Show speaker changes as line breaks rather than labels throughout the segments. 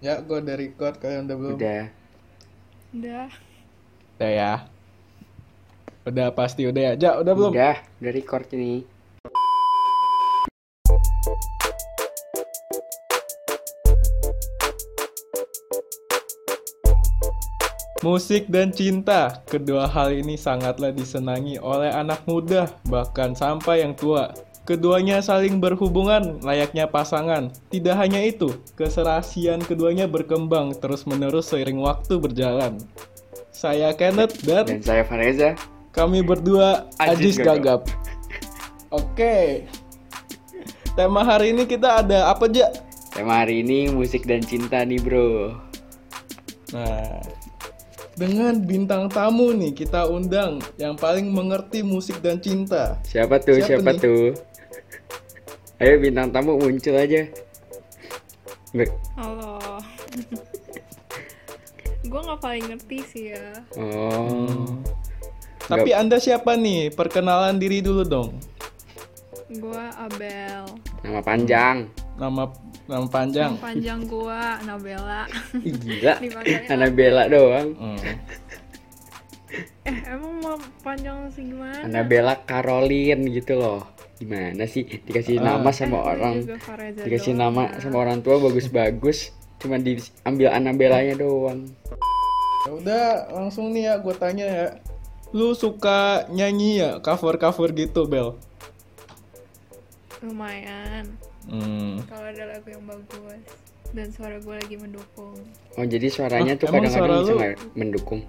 Ya, gue udah record kalian udah belum?
Udah.
Udah.
Udah ya. Udah pasti udah ya. Ja, udah belum?
Udah, udah record ini.
Musik dan cinta, kedua hal ini sangatlah disenangi oleh anak muda, bahkan sampai yang tua. Keduanya saling berhubungan layaknya pasangan. Tidak hanya itu, keserasian keduanya berkembang terus-menerus seiring waktu berjalan. Saya Kenneth dan
Dan saya Fareza.
kami berdua Ajis
Ajis
Gagap. Oke. Tema hari ini kita ada apa, Ja?
Tema hari ini musik dan cinta nih bro.
Nah, dengan bintang tamu nih kita undang yang paling mengerti musik dan cinta.
Siapa tuh?
Siapa
Siapa,
nih?
tuh? Ayo bintang tamu muncul aja. Nggak-
Halo. gue nggak paling ngerti sih ya.
Hmm.
Oh.
Tapi Anda siapa nih? Perkenalan diri dulu dong.
Gue Abel.
Nama panjang.
Nama nama
Yang
panjang.
panjang gue Nabela.
Ih, Gila.
Dipanggilnya-
Anabella doang.
Hmm.
eh emang mau panjang sih gimana?
Anabella Caroline gitu loh. Gimana sih dikasih
Ah.
nama
Eh,
sama
lu
orang
juga Fareza
dikasih
doang,
nama
ya.
sama orang tua bagus-bagus cuma diambil Anabellanya doang.
Ya udah, langsung nih ya gue tanya ya. Lu suka nyanyi ya cover-cover gitu, Bel?
Lumayan.
Hmm.
Kalau ada lagu yang bagus dan suara gue lagi mendukung.
Oh jadi
Hah,
suaranya tuh
Ah, emang
kadang-kadang
suara
bisa
lu-
nggak mendukung.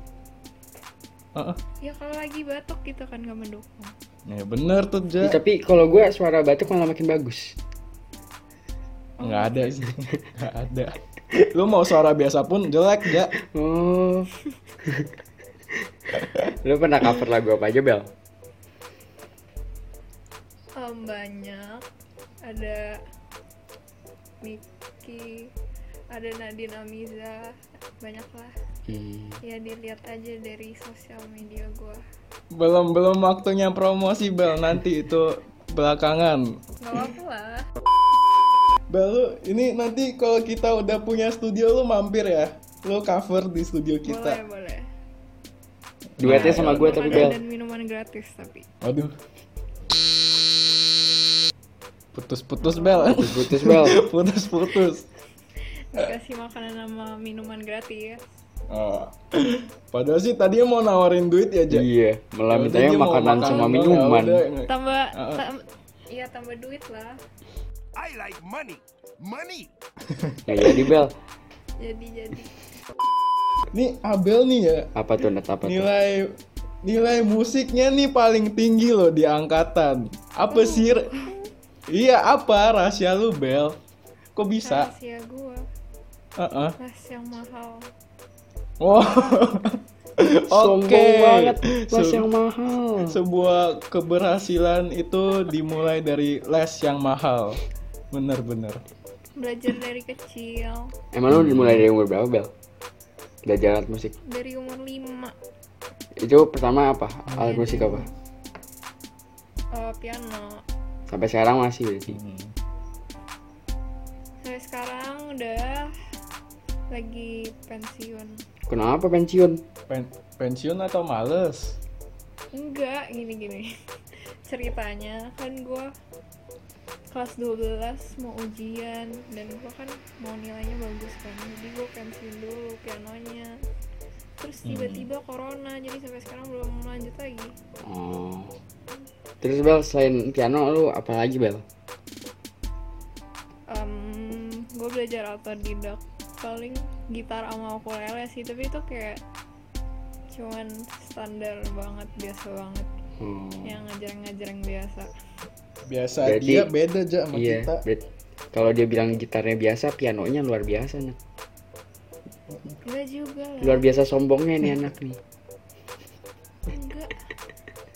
Ah, ah.
Ya kalau lagi batuk gitu kan gak mendukung.
Ya bener tuh,
Ih,
Ja.
tapi kalau gue suara batuk malah makin bagus.
Nggak ada sih. Nggak ada. Lu mau suara biasa pun jelek, Ja.
Oh. Lu pernah cover lagu apa aja Bel?
Em, banyak ada Miki ada Nadine Amiza banyak lah
Hmm.
ya dilihat aja dari sosial media gua
Belum belum waktunya promosi, Bel. Nanti itu belakangan.
nggak apa lah
Bel, lu, ini nanti kalau kita udah punya studio lu mampir ya. Lu cover di studio
boleh
kita.
boleh
Duetnya sama gue tapi
makanan
Bel.
dan minuman gratis tapi
Waduh. Putus-putus, Bel.
Putus Bel.
Putus-putus.
dikasih makanan sama minuman gratis
Oh. Padahal sih tadinya mau nawarin duit ya, Ja.
Iya, malah
Berarti
mintanya
dia mau
makanan sama
doang, ya
minuman.
udah.
tambah
Ah, ah.
tam- iya tambah duit lah
I like money. Money.
Nggak jadi Ya, iya Bel.
jadi jadi
Nih Abel nih ya,
Apa tuh net apa tuh?
nilai nilai musiknya nih paling tinggi loh di angkatan. Apa sih? Re- Iya, apa rahasia lu, Bel? Kok bisa?
rahasia gua
Heeh.
rahasia yang mahal
Oh.
Sombong
Oke.
banget, Mas
Se-
yang mahal.
sebuah keberhasilan itu dimulai dari les yang mahal. Bener-bener.
belajar dari kecil
Emang lu dimulai dari umur berapa Bel? Belajar alat musik.
dari umur 5
Itu pertama apa? Alat musik apa?
Oh, piano
Sampai sekarang masih berarti.
Hmm.
Sampai sekarang udah lagi pensiun.
Kenapa pensiun?
Pen- pensiun atau males?
Enggak, gini-gini. Ceritanya kan gua kelas 12 mau ujian dan gua kan mau nilainya bagus kan. Jadi gua pensiun dulu pianonya. Terus tiba-tiba corona jadi sampai sekarang belum lanjut lagi.
Oh. Terus Bel, selain piano lu apa lagi Bel?
Em, gue belajar autodidak paling gitar sama ukulele sih tapi itu kayak cuman standar banget biasa banget
Oh.
yang ngajarang-ngajarang biasa
Biasa
Berarti-
dia beda aja sama
Iya.
kita.
bet- Kalau dia bilang gitarnya biasa, pianonya luar biasa nah.
enggak juga lah
Luar biasa sombongnya nih anak nih.
enggak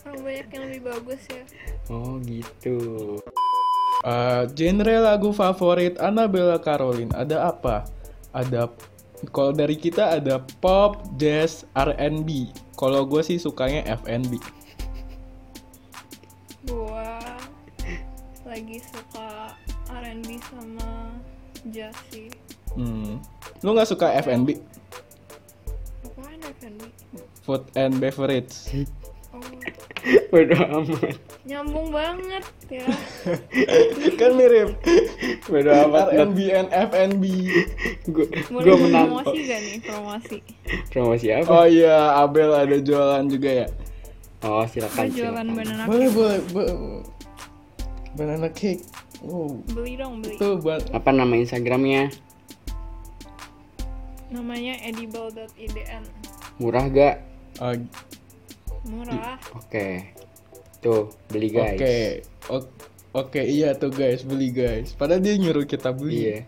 orang banyak yang lebih bagus ya
Oh gitu.
Eh, genre lagu favorit Annabella Caroline ada apa? Ada kalau dari kita ada pop, jazz, R&B. Kalau gue sih sukanya F&B.
gua lagi suka R&B sama jazz sih
Hmm. Lu nggak suka F&B?
Apaan F&B?
Food and beverage.
Oh,
Bodoh amat.
nyambung banget ya.
kan mirip.
Bodoh amat.
R&B and F&B.
Gue
Boleh
gue menang.
promosi gak nih promosi?
Promosi apa?
Oh iya, Abel ada jualan juga ya.
Oh,
Gue
Kan
silakan.
jualan
silakan.
banana
Boleh,
cake.
boleh, boleh. Banana cake. Wow.
Beli dong, beli.
Itu ban
Apa nama Instagramnya?
Namanya E edible.idn.
Murah gak?
Ah,
Murah.
Oke. Tuh, beli guys.
Oke. O- Oke, iya tuh guys, beli guys. Padahal dia nyuruh kita beli.
Iya.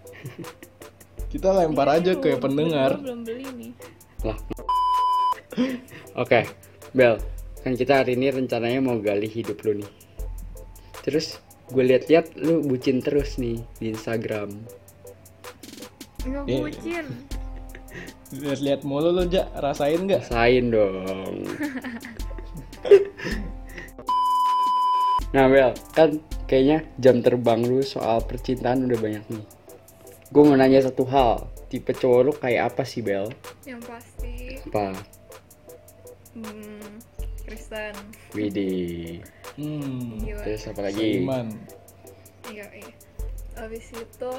Kita lempar aja
Ini
ke
belum-
pendengar.
gua belum beli nih.
Lah. Oke, Bel. Kan kita hari ini rencananya mau gali hidup lu nih. Terus gue lihat-lihat lu bucin terus nih di Instagram.
Gak
Iya.
bucin.
Lihat-lihat mulu lu, Ja. Rasain nggak?
Rasain dong. nah, Bel, kan kayaknya jam terbang lu soal percintaan udah banyak nih. Gue mau nanya satu hal. Tipe cowok lu kayak apa sih, Bel?
Yang pasti
Apa?
hmm, Kristen.
Widih.
Hmm.
Gila.
Terus apa lagi?
Iman.
Iya, iya. Abis itu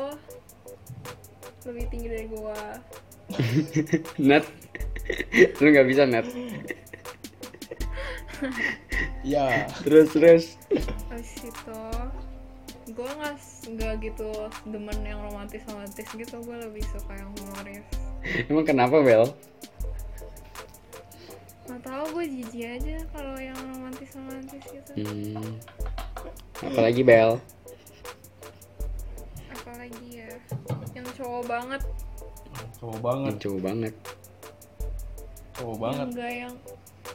lebih tinggi dari gua.
Net. lu nggak bisa net.
Ya.
Terus terus.
Abis itu gua nggak s- nggak gitu demen yang romantis romantis gitu gua lebih suka yang humoris
Emang kenapa, Bel?
nggak tahu gue jijik aja kalau yang romantis romantis gitu
Hmm. Apalagi Bel?
apalagi ya yang cowok banget
Cowok banget,
Yang cowok banget.
cowok banget.
yang gak yang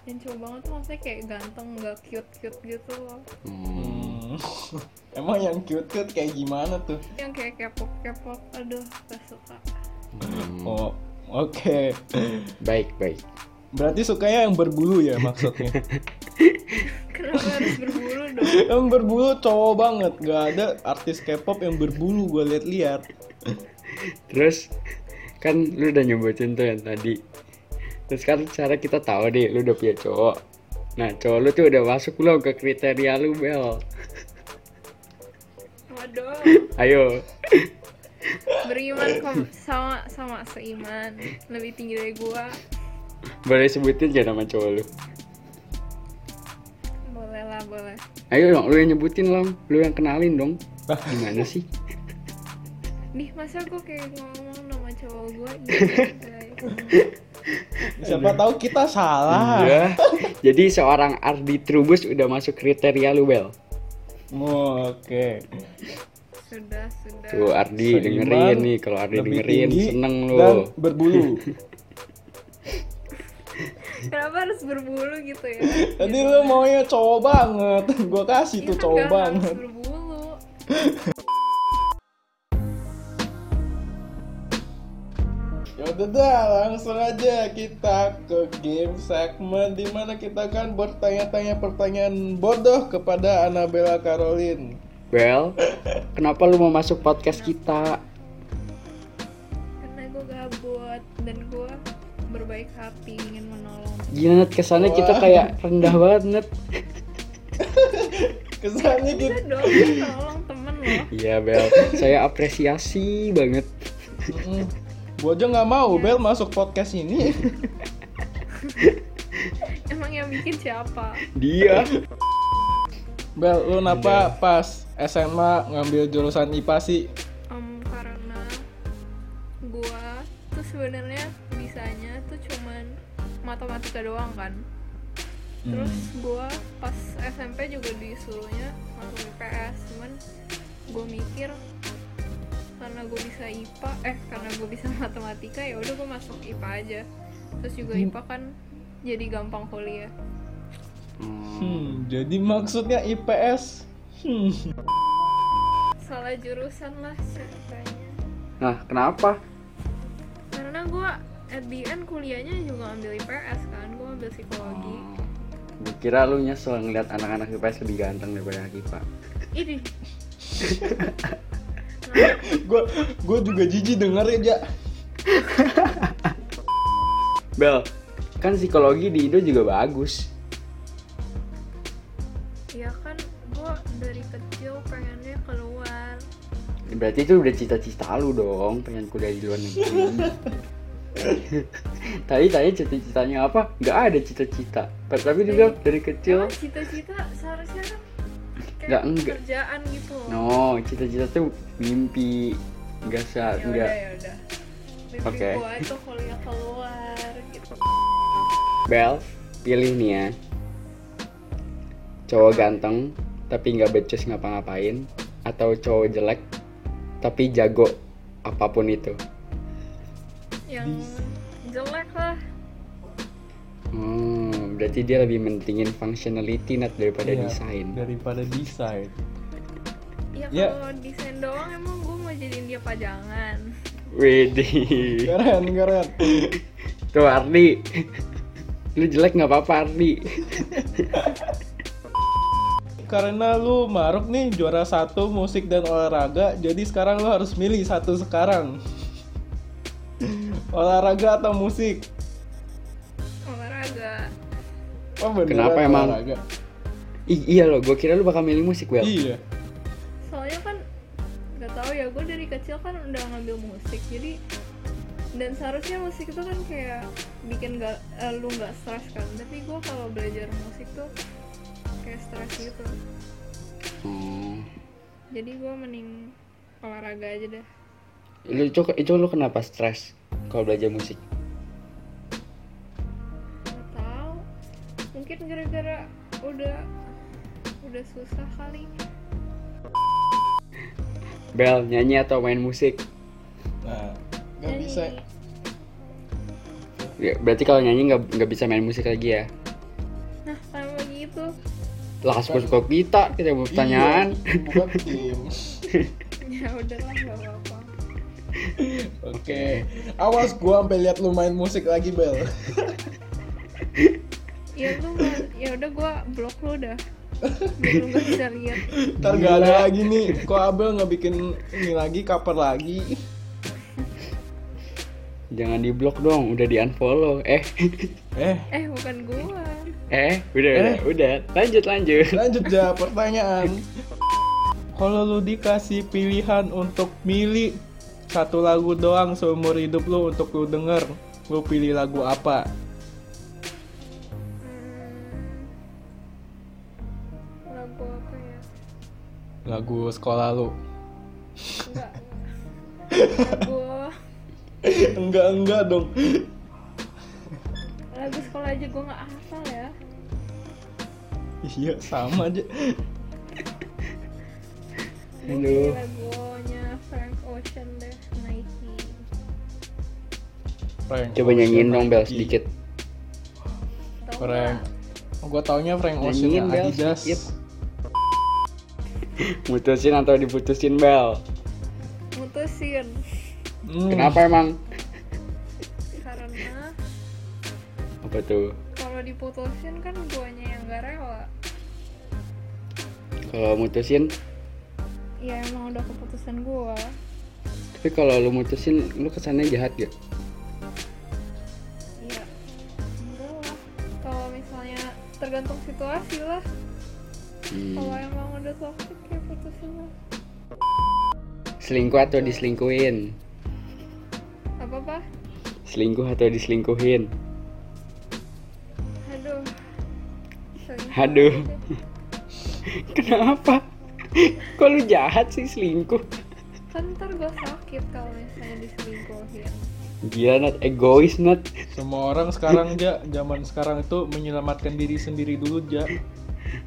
yang cowok banget tuh maksudnya kayak ganteng gak cute cute gitu loh
Hmm.
Hmm. Emang yang cute-cute kayak gimana tuh?
yang kayak kepo kepo aduh gak suka
Oh, oke.
Hmm. Baik baik.
Berarti sukanya yang berbulu ya maksudnya?
kenapa harus berburu dong
yang berbulu cowok banget. Gak ada artis K-pop yang berbulu gue liat-liat.
Terus kan lu udah nyebutin tuh yang tadi. Terus kan cara kita tahu deh lu udah punya cowok. Nah, cowok lu tuh udah masuk belum ke kriteria lu, Bel?
waduh
Ayo.
beriman kok sama sama seiman lebih tinggi dari gua
Boleh sebutin gak nama cowok lu?
boleh lah boleh
Ayo dong, lu yang nyebutin dong. Lu yang kenalin dong. Gimana sih?
nih masa gue kayak ngomong nama cowok gue
Siapa tahu kita salah.
Iya. Jadi seorang Ardi Trubus udah masuk kriteria lu, Bel.
Oh, Oke.
sudah sudah
Tuh Ardi
Seiman,
dengerin nih kalau Ardi
lebih
dengerin
tinggi
seneng lu.
Dan berbulu.
kenapa harus berbulu gitu ya
Tadi lu maunya cowok banget. Gue kasih
Iya
tuh
kan,
cowok
gak
banget.
harus berbulu
Ya udah dah, langsung aja kita ke game segmen dimana kita akan bertanya-tanya pertanyaan bodoh kepada Anabella Caroline.
Bel, kenapa lu mau masuk podcast kita?
karena gue gabut dan gue berbaik hati ingin menolong
Gila net kesannya kita
Wah.
kayak rendah banget net.
Kesannya gitu.
bisa Iya dong menolong temen loh
Iya Bel, saya apresiasi banget.
Mm. Gua aja nggak mau Bel masuk podcast ini.
emang yang bikin siapa
Dia.
Bel, lu
Iya.
kenapa pas SMA ngambil jurusan IPA sih?
Em, karena gue tuh sebenarnya bisanya tuh cuman matematika doang kan terus gue pas SMP juga disuruhnya masuk IPS cuman gue mikir karena gue bisa IPA eh karena gue bisa matematika ya udah gue masuk IPA aja terus juga IPA kan jadi gampang kuliah
Hmm, jadi maksudnya IPS. Hmm.
salah jurusan lah ceritanya
Nah, kenapa?
karena gue at the end kuliahnya juga ambil IPS kan gue ambil psikologi
Oh. Gue Hmm. kira lu nyesel ngeliat anak-anak IPS lebih ganteng daripada anak IPA.
ini
Gua gua juga jijik denger ya, Ja.
Bel, kan psikologi di Indo juga bagus.
ya kan gue dari kecil pengennya keluar
Berarti itu udah cita-cita lu dong, pengen kuliah di luar negeri. tadi tadi cita-citanya apa? Gak ada cita-cita. Tapi juga dari kecil.
Emang cita-cita seharusnya kan kayak
Nggak, enggak.
kerjaan gitu loh
No, cita-cita tuh mimpi. Gak sa,
ya udah
enggak.
ya udah mimpi
Oke.
gue itu kuliah keluar gitu
Bel, pilih nih ya. Cowok ganteng tapi nggak becus ngapa-ngapain atau cowok jelek tapi jago apapun itu.
yang jelek lah
Hmm, berarti dia lebih mentingin functionality Nat, daripada
Iya,
desain.
daripada desain
ya
Ya.
kalau desain doang emang gue mau jadiin dia pajangan
Widih.
keren keren
Tuh Ardi. Lu jelek nggak apa-apa Ardi.
karena lu maruk nih juara satu musik dan olahraga jadi sekarang lu harus milih satu sekarang olahraga atau musik
olahraga
oh beneran
Kenapa emang?
olahraga.
Ih, iya loh, gue kira lu bakal milih musik, Bel.
iya
soalnya kan nggak tahu ya gue dari kecil kan udah ngambil musik jadi dan seharusnya musik itu kan kayak bikin gak, eh, lu nggak stres kan tapi gue kalau belajar musik tuh kayak stres gitu
Hmm.
jadi gue mending olahraga aja deh
Lu itu, itu lu kenapa stres kalau belajar musik?
nggak tahu mungkin gara-gara udah udah susah kali
Bel, nyanyi atau main musik?
nah nggak
Nyanyi.
bisa
Ya, berarti kalau nyanyi nggak nggak bisa main musik lagi ya?
nah sama gitu
Lah, suka-suka kita, kita mau pertanyaan.
Iya, bukan tim.
ya udahlah nggak apa-apa
oke awas gua sampai lihat lu main musik lagi bel
ya lu mah- ya udah gue blok lu dah biar lu nggak bisa lihat
ntar gak ada lagi nih kok abel nggak bikin ini lagi cover lagi
Jangan di-block dong, udah di-unfollow. Eh,
eh
eh bukan gua
eh, udah, udah,
Eh.
udah. Lanjut, lanjut.
Lanjut ya pertanyaan. Kalau lu dikasih pilihan untuk milih satu lagu doang seumur hidup lu untuk lu denger, lu pilih lagu apa?
Hmm, lagu apa ya
Lagu sekolah lu.
enggak lagu
enggak enggak dong.
lagu sekolah aja gua nggak hafal ya
Iya sama aja.
Gua
Aduh.
pilih lagunya Frank Ocean deh Nike
Frank
Coba
Ocean
nyanyiin dong, Bel,
lagi.
sedikit.
Tau
Frank.
nggak?
Gue taunya Frank Ocean ya,
Nyanyiin,
yang
Bel,
Adidas.
sedikit. Mutusin atau diputusin, Bel?
mutusin
Hmm,
Kenapa emang?
karena
Apa tuh?
kalau diputusin kan guanya yang gak rela
Kalau mutusin,
ya emang udah keputusan gua
tapi kalau lu mutusin, lu kesannya jahat gak?
iya enggak lah kalau misalnya tergantung situasi lah kalau
Hmm.
emang udah toxic ya putusin lah
Selingkuh atau diselingkuhin?
apa apa
Selingkuh atau diselingkuhin?
aduh Selingkuh
Aduh.
aja.
Kenapa? Kok lu jahat sih selingkuh?
kan ntar gue sakit kalau misalnya diselingkuhin
Gila, Nat. Egois, Nat.
Semua orang sekarang ja, zaman sekarang itu menyelamatkan diri sendiri dulu ja.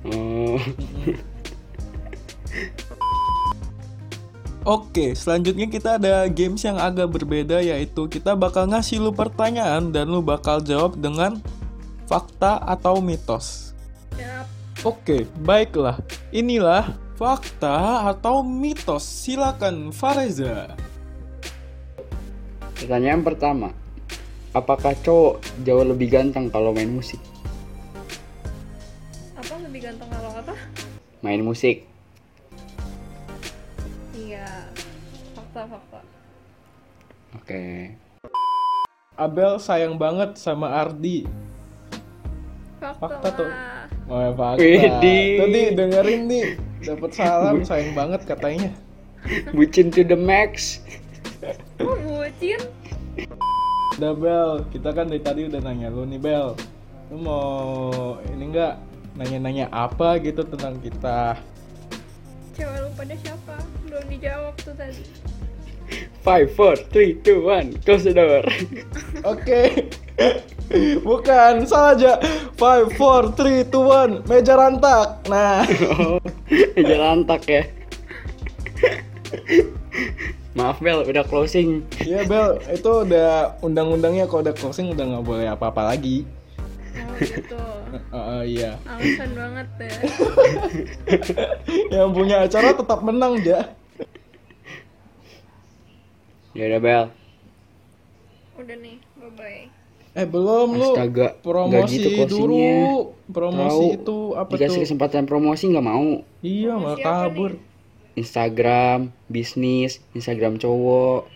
Oh.
Oke, selanjutnya kita ada games yang agak berbeda yaitu kita bakal ngasih lu pertanyaan dan lu bakal jawab dengan fakta atau mitos.
Yap,
Oke, baiklah. Inilah fakta atau mitos. Silakan Fareza.
Pertanyaan pertama. Apakah cowok jauh lebih ganteng kalau main musik?
apa lebih ganteng kalau apa
Main musik.
iya fakta fakta
Oke.
Abel sayang banget sama Ardi.
Fakta,
Fakta tuh.
lah.
Oh, ya, fakta.
Widih.
Tadi dengerin nih, dapat salam sayang banget katanya.
bucin to the max
Kok bucin?
Udah Bel, kita kan dari tadi udah nanya lu nih Bel. Lu mau ini enggak nanya-nanya apa gitu tentang kita?
Cewek lu pada siapa? Belum dijawab tuh tadi.
five four three two one close the door
Oke. Bukan, salah aja. 5 4 3 2 1, meja rantak. Nah,
aja lantak ya maaf Bel udah closing
ya Bel, itu udah undang-undangnya kalau udah closing udah nggak boleh apa-apa lagi.
Oh gitu.
Oh, iya.
Alasan banget ya.
Yang punya acara tetap menang, Ja.
ya udah Bel
Udah nih, bye bye.
Eh, belum lu.
Astaga, nggak
Promosi
gitu closingnya.
dulu. Promosi
Tahu,
itu apa
dikasih
tuh?
kesempatan promosi nggak mau
Iya,
Promosi
malah
apa
kabur.
nih?
Instagram bisnis Instagram cowok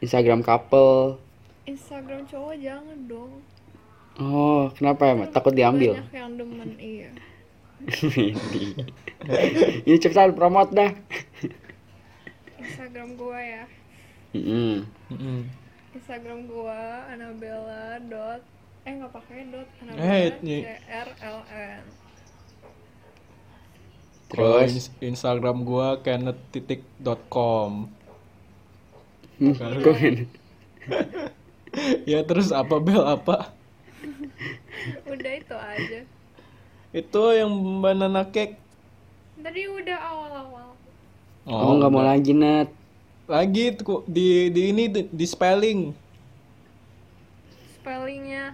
Instagram couple
Instagram cowok jangan dong.
oh kenapa ya Mat? takut diambil
Banyak yang demen iya.
ini cepetan promote dah
Instagram gua ya.
Mm-mm.
Mm-mm.
Instagram gua Anabella dot eh nggak pakai dot
Eh,
Anabella
ini-
CRLN.
Kalau
terus
ins- Instagram gua kenneth.com.
Hmm, kok gini?
ya terus apa Bel apa?
Udah itu aja.
Itu yang banana cake.
Tadi udah awal-awal.
kamu nggak
Oh,
mau lagi Nat
lagi tuh, di di ini di, di spelling.
Spellingnya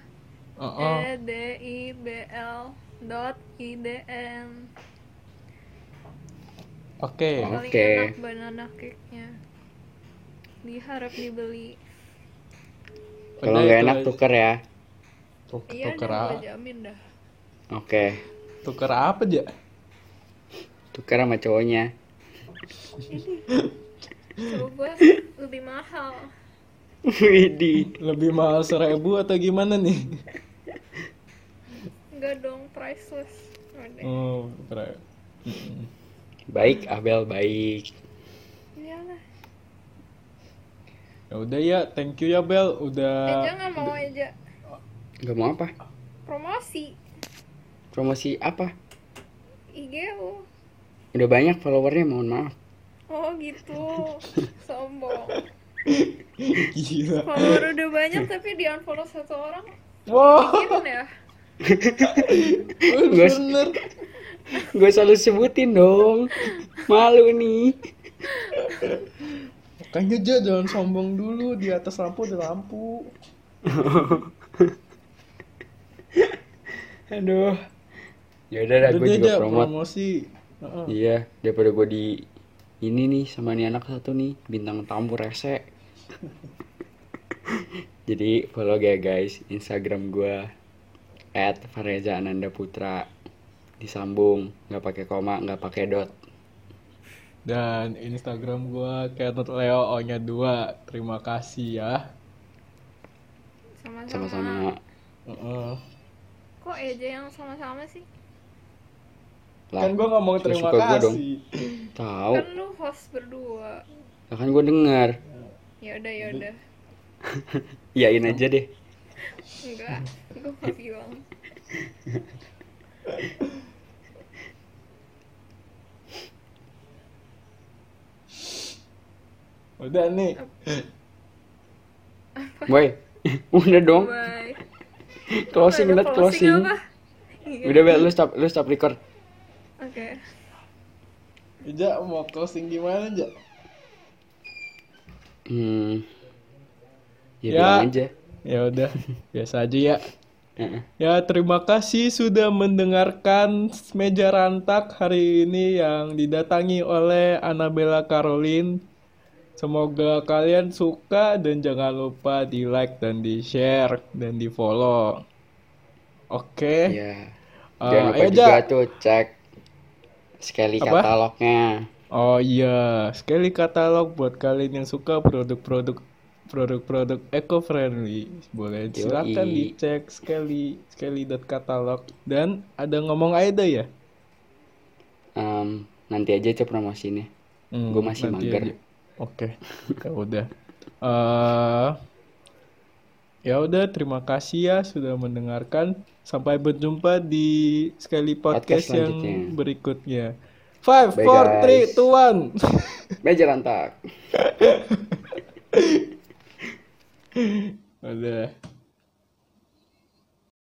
Oh,
E D I B L dot I D N.
Oke.
Oh.
Paling
Oke.
enak banana cake-nya. Diharap dibeli.
kalau nggak enak tuker ya
Tuk-
Iya,
tuker,
dah,
a-
gua jamin dah.
oke
tuker apa aja?
tuker sama cowoknya
Coba gua lebih mahal.
Widih
Lebih mahal seribu atau gimana nih?
Enggak dong, priceless. Udah.
Oh, keren.
baik Abel baik
Iyalah.
Ya udah ya, thank you ya Bel,
Eh,
udah
jangan mau aja
nggak mau apa
promosi
promosi apa
IG lu.
udah banyak followernya mohon maaf
Oh gitu, sombong.
gila.
Follower udah banyak tapi di unfollow satu orang,
Wah,
mungkin ya.
Guys.
bener.
gue selalu sebutin dong malu nih
Makanya aja jangan sombong dulu di atas lampu ada lampu.
aduh yaudah dah gue
Udah
juga
aja
promote
promosi. Heeh.
iya daripada gue di ini nih sama nih anak satu nih bintang tamu rese jadi follow ya guys instagram gue at Fareza Ananda Putra disambung nggak pakai koma nggak pakai dot
Dan Instagram gua Kenneth Leo O-nya 2. Terima kasih ya.
Sama-sama.
sama-sama
Heeh.
Kok aja yang sama-sama sih?
lah
Kan gua ngomong terima
suka gua dong.
kasih.
tahu
Kan lu host berdua.
Lah kan gue denger
Ya udah ya udah.
yain aja deh
Enggak, gue gak bilang.
Udah nih.
boy udah dong
Bye.
Oh. closing
Apa,
net
ada
closing
apa? Iya.
udah bel lu stop lu stop record
Oke.
Ja mau closing gimana, Ja?
hmm ya,
Ya.
bilang aja
Ya udah, biasa aja ya.
Heeh.
Ya, terima kasih sudah mendengarkan Meja Rantak hari ini yang didatangi oleh Anabella Caroline. Semoga kalian suka dan jangan lupa di like dan di share dan di follow. Oke,
ya
Eh,
jangan lupa
ayo, Ja.
juga tuh cek sekali
Apa?
katalognya
Oh iya, sekali katalog buat kalian yang suka produk-produk produk-produk eco-friendly. Boleh
Yoi.
silakan dicek sekali sekali dot katalog dan ada ngomong Aida ya.
Em, nanti aja itu promosinya
Hmm,
Gua masih
nanti
mager.
aja. Oke, ya udah. Eh, ya udah, terima kasih ya sudah mendengarkan. Sampai berjumpa di sekali podcast,
Podcast
yang
selanjutnya.
berikutnya. Five,
Bye,
four,
guys.
three, two, one.
meja lantak
udah.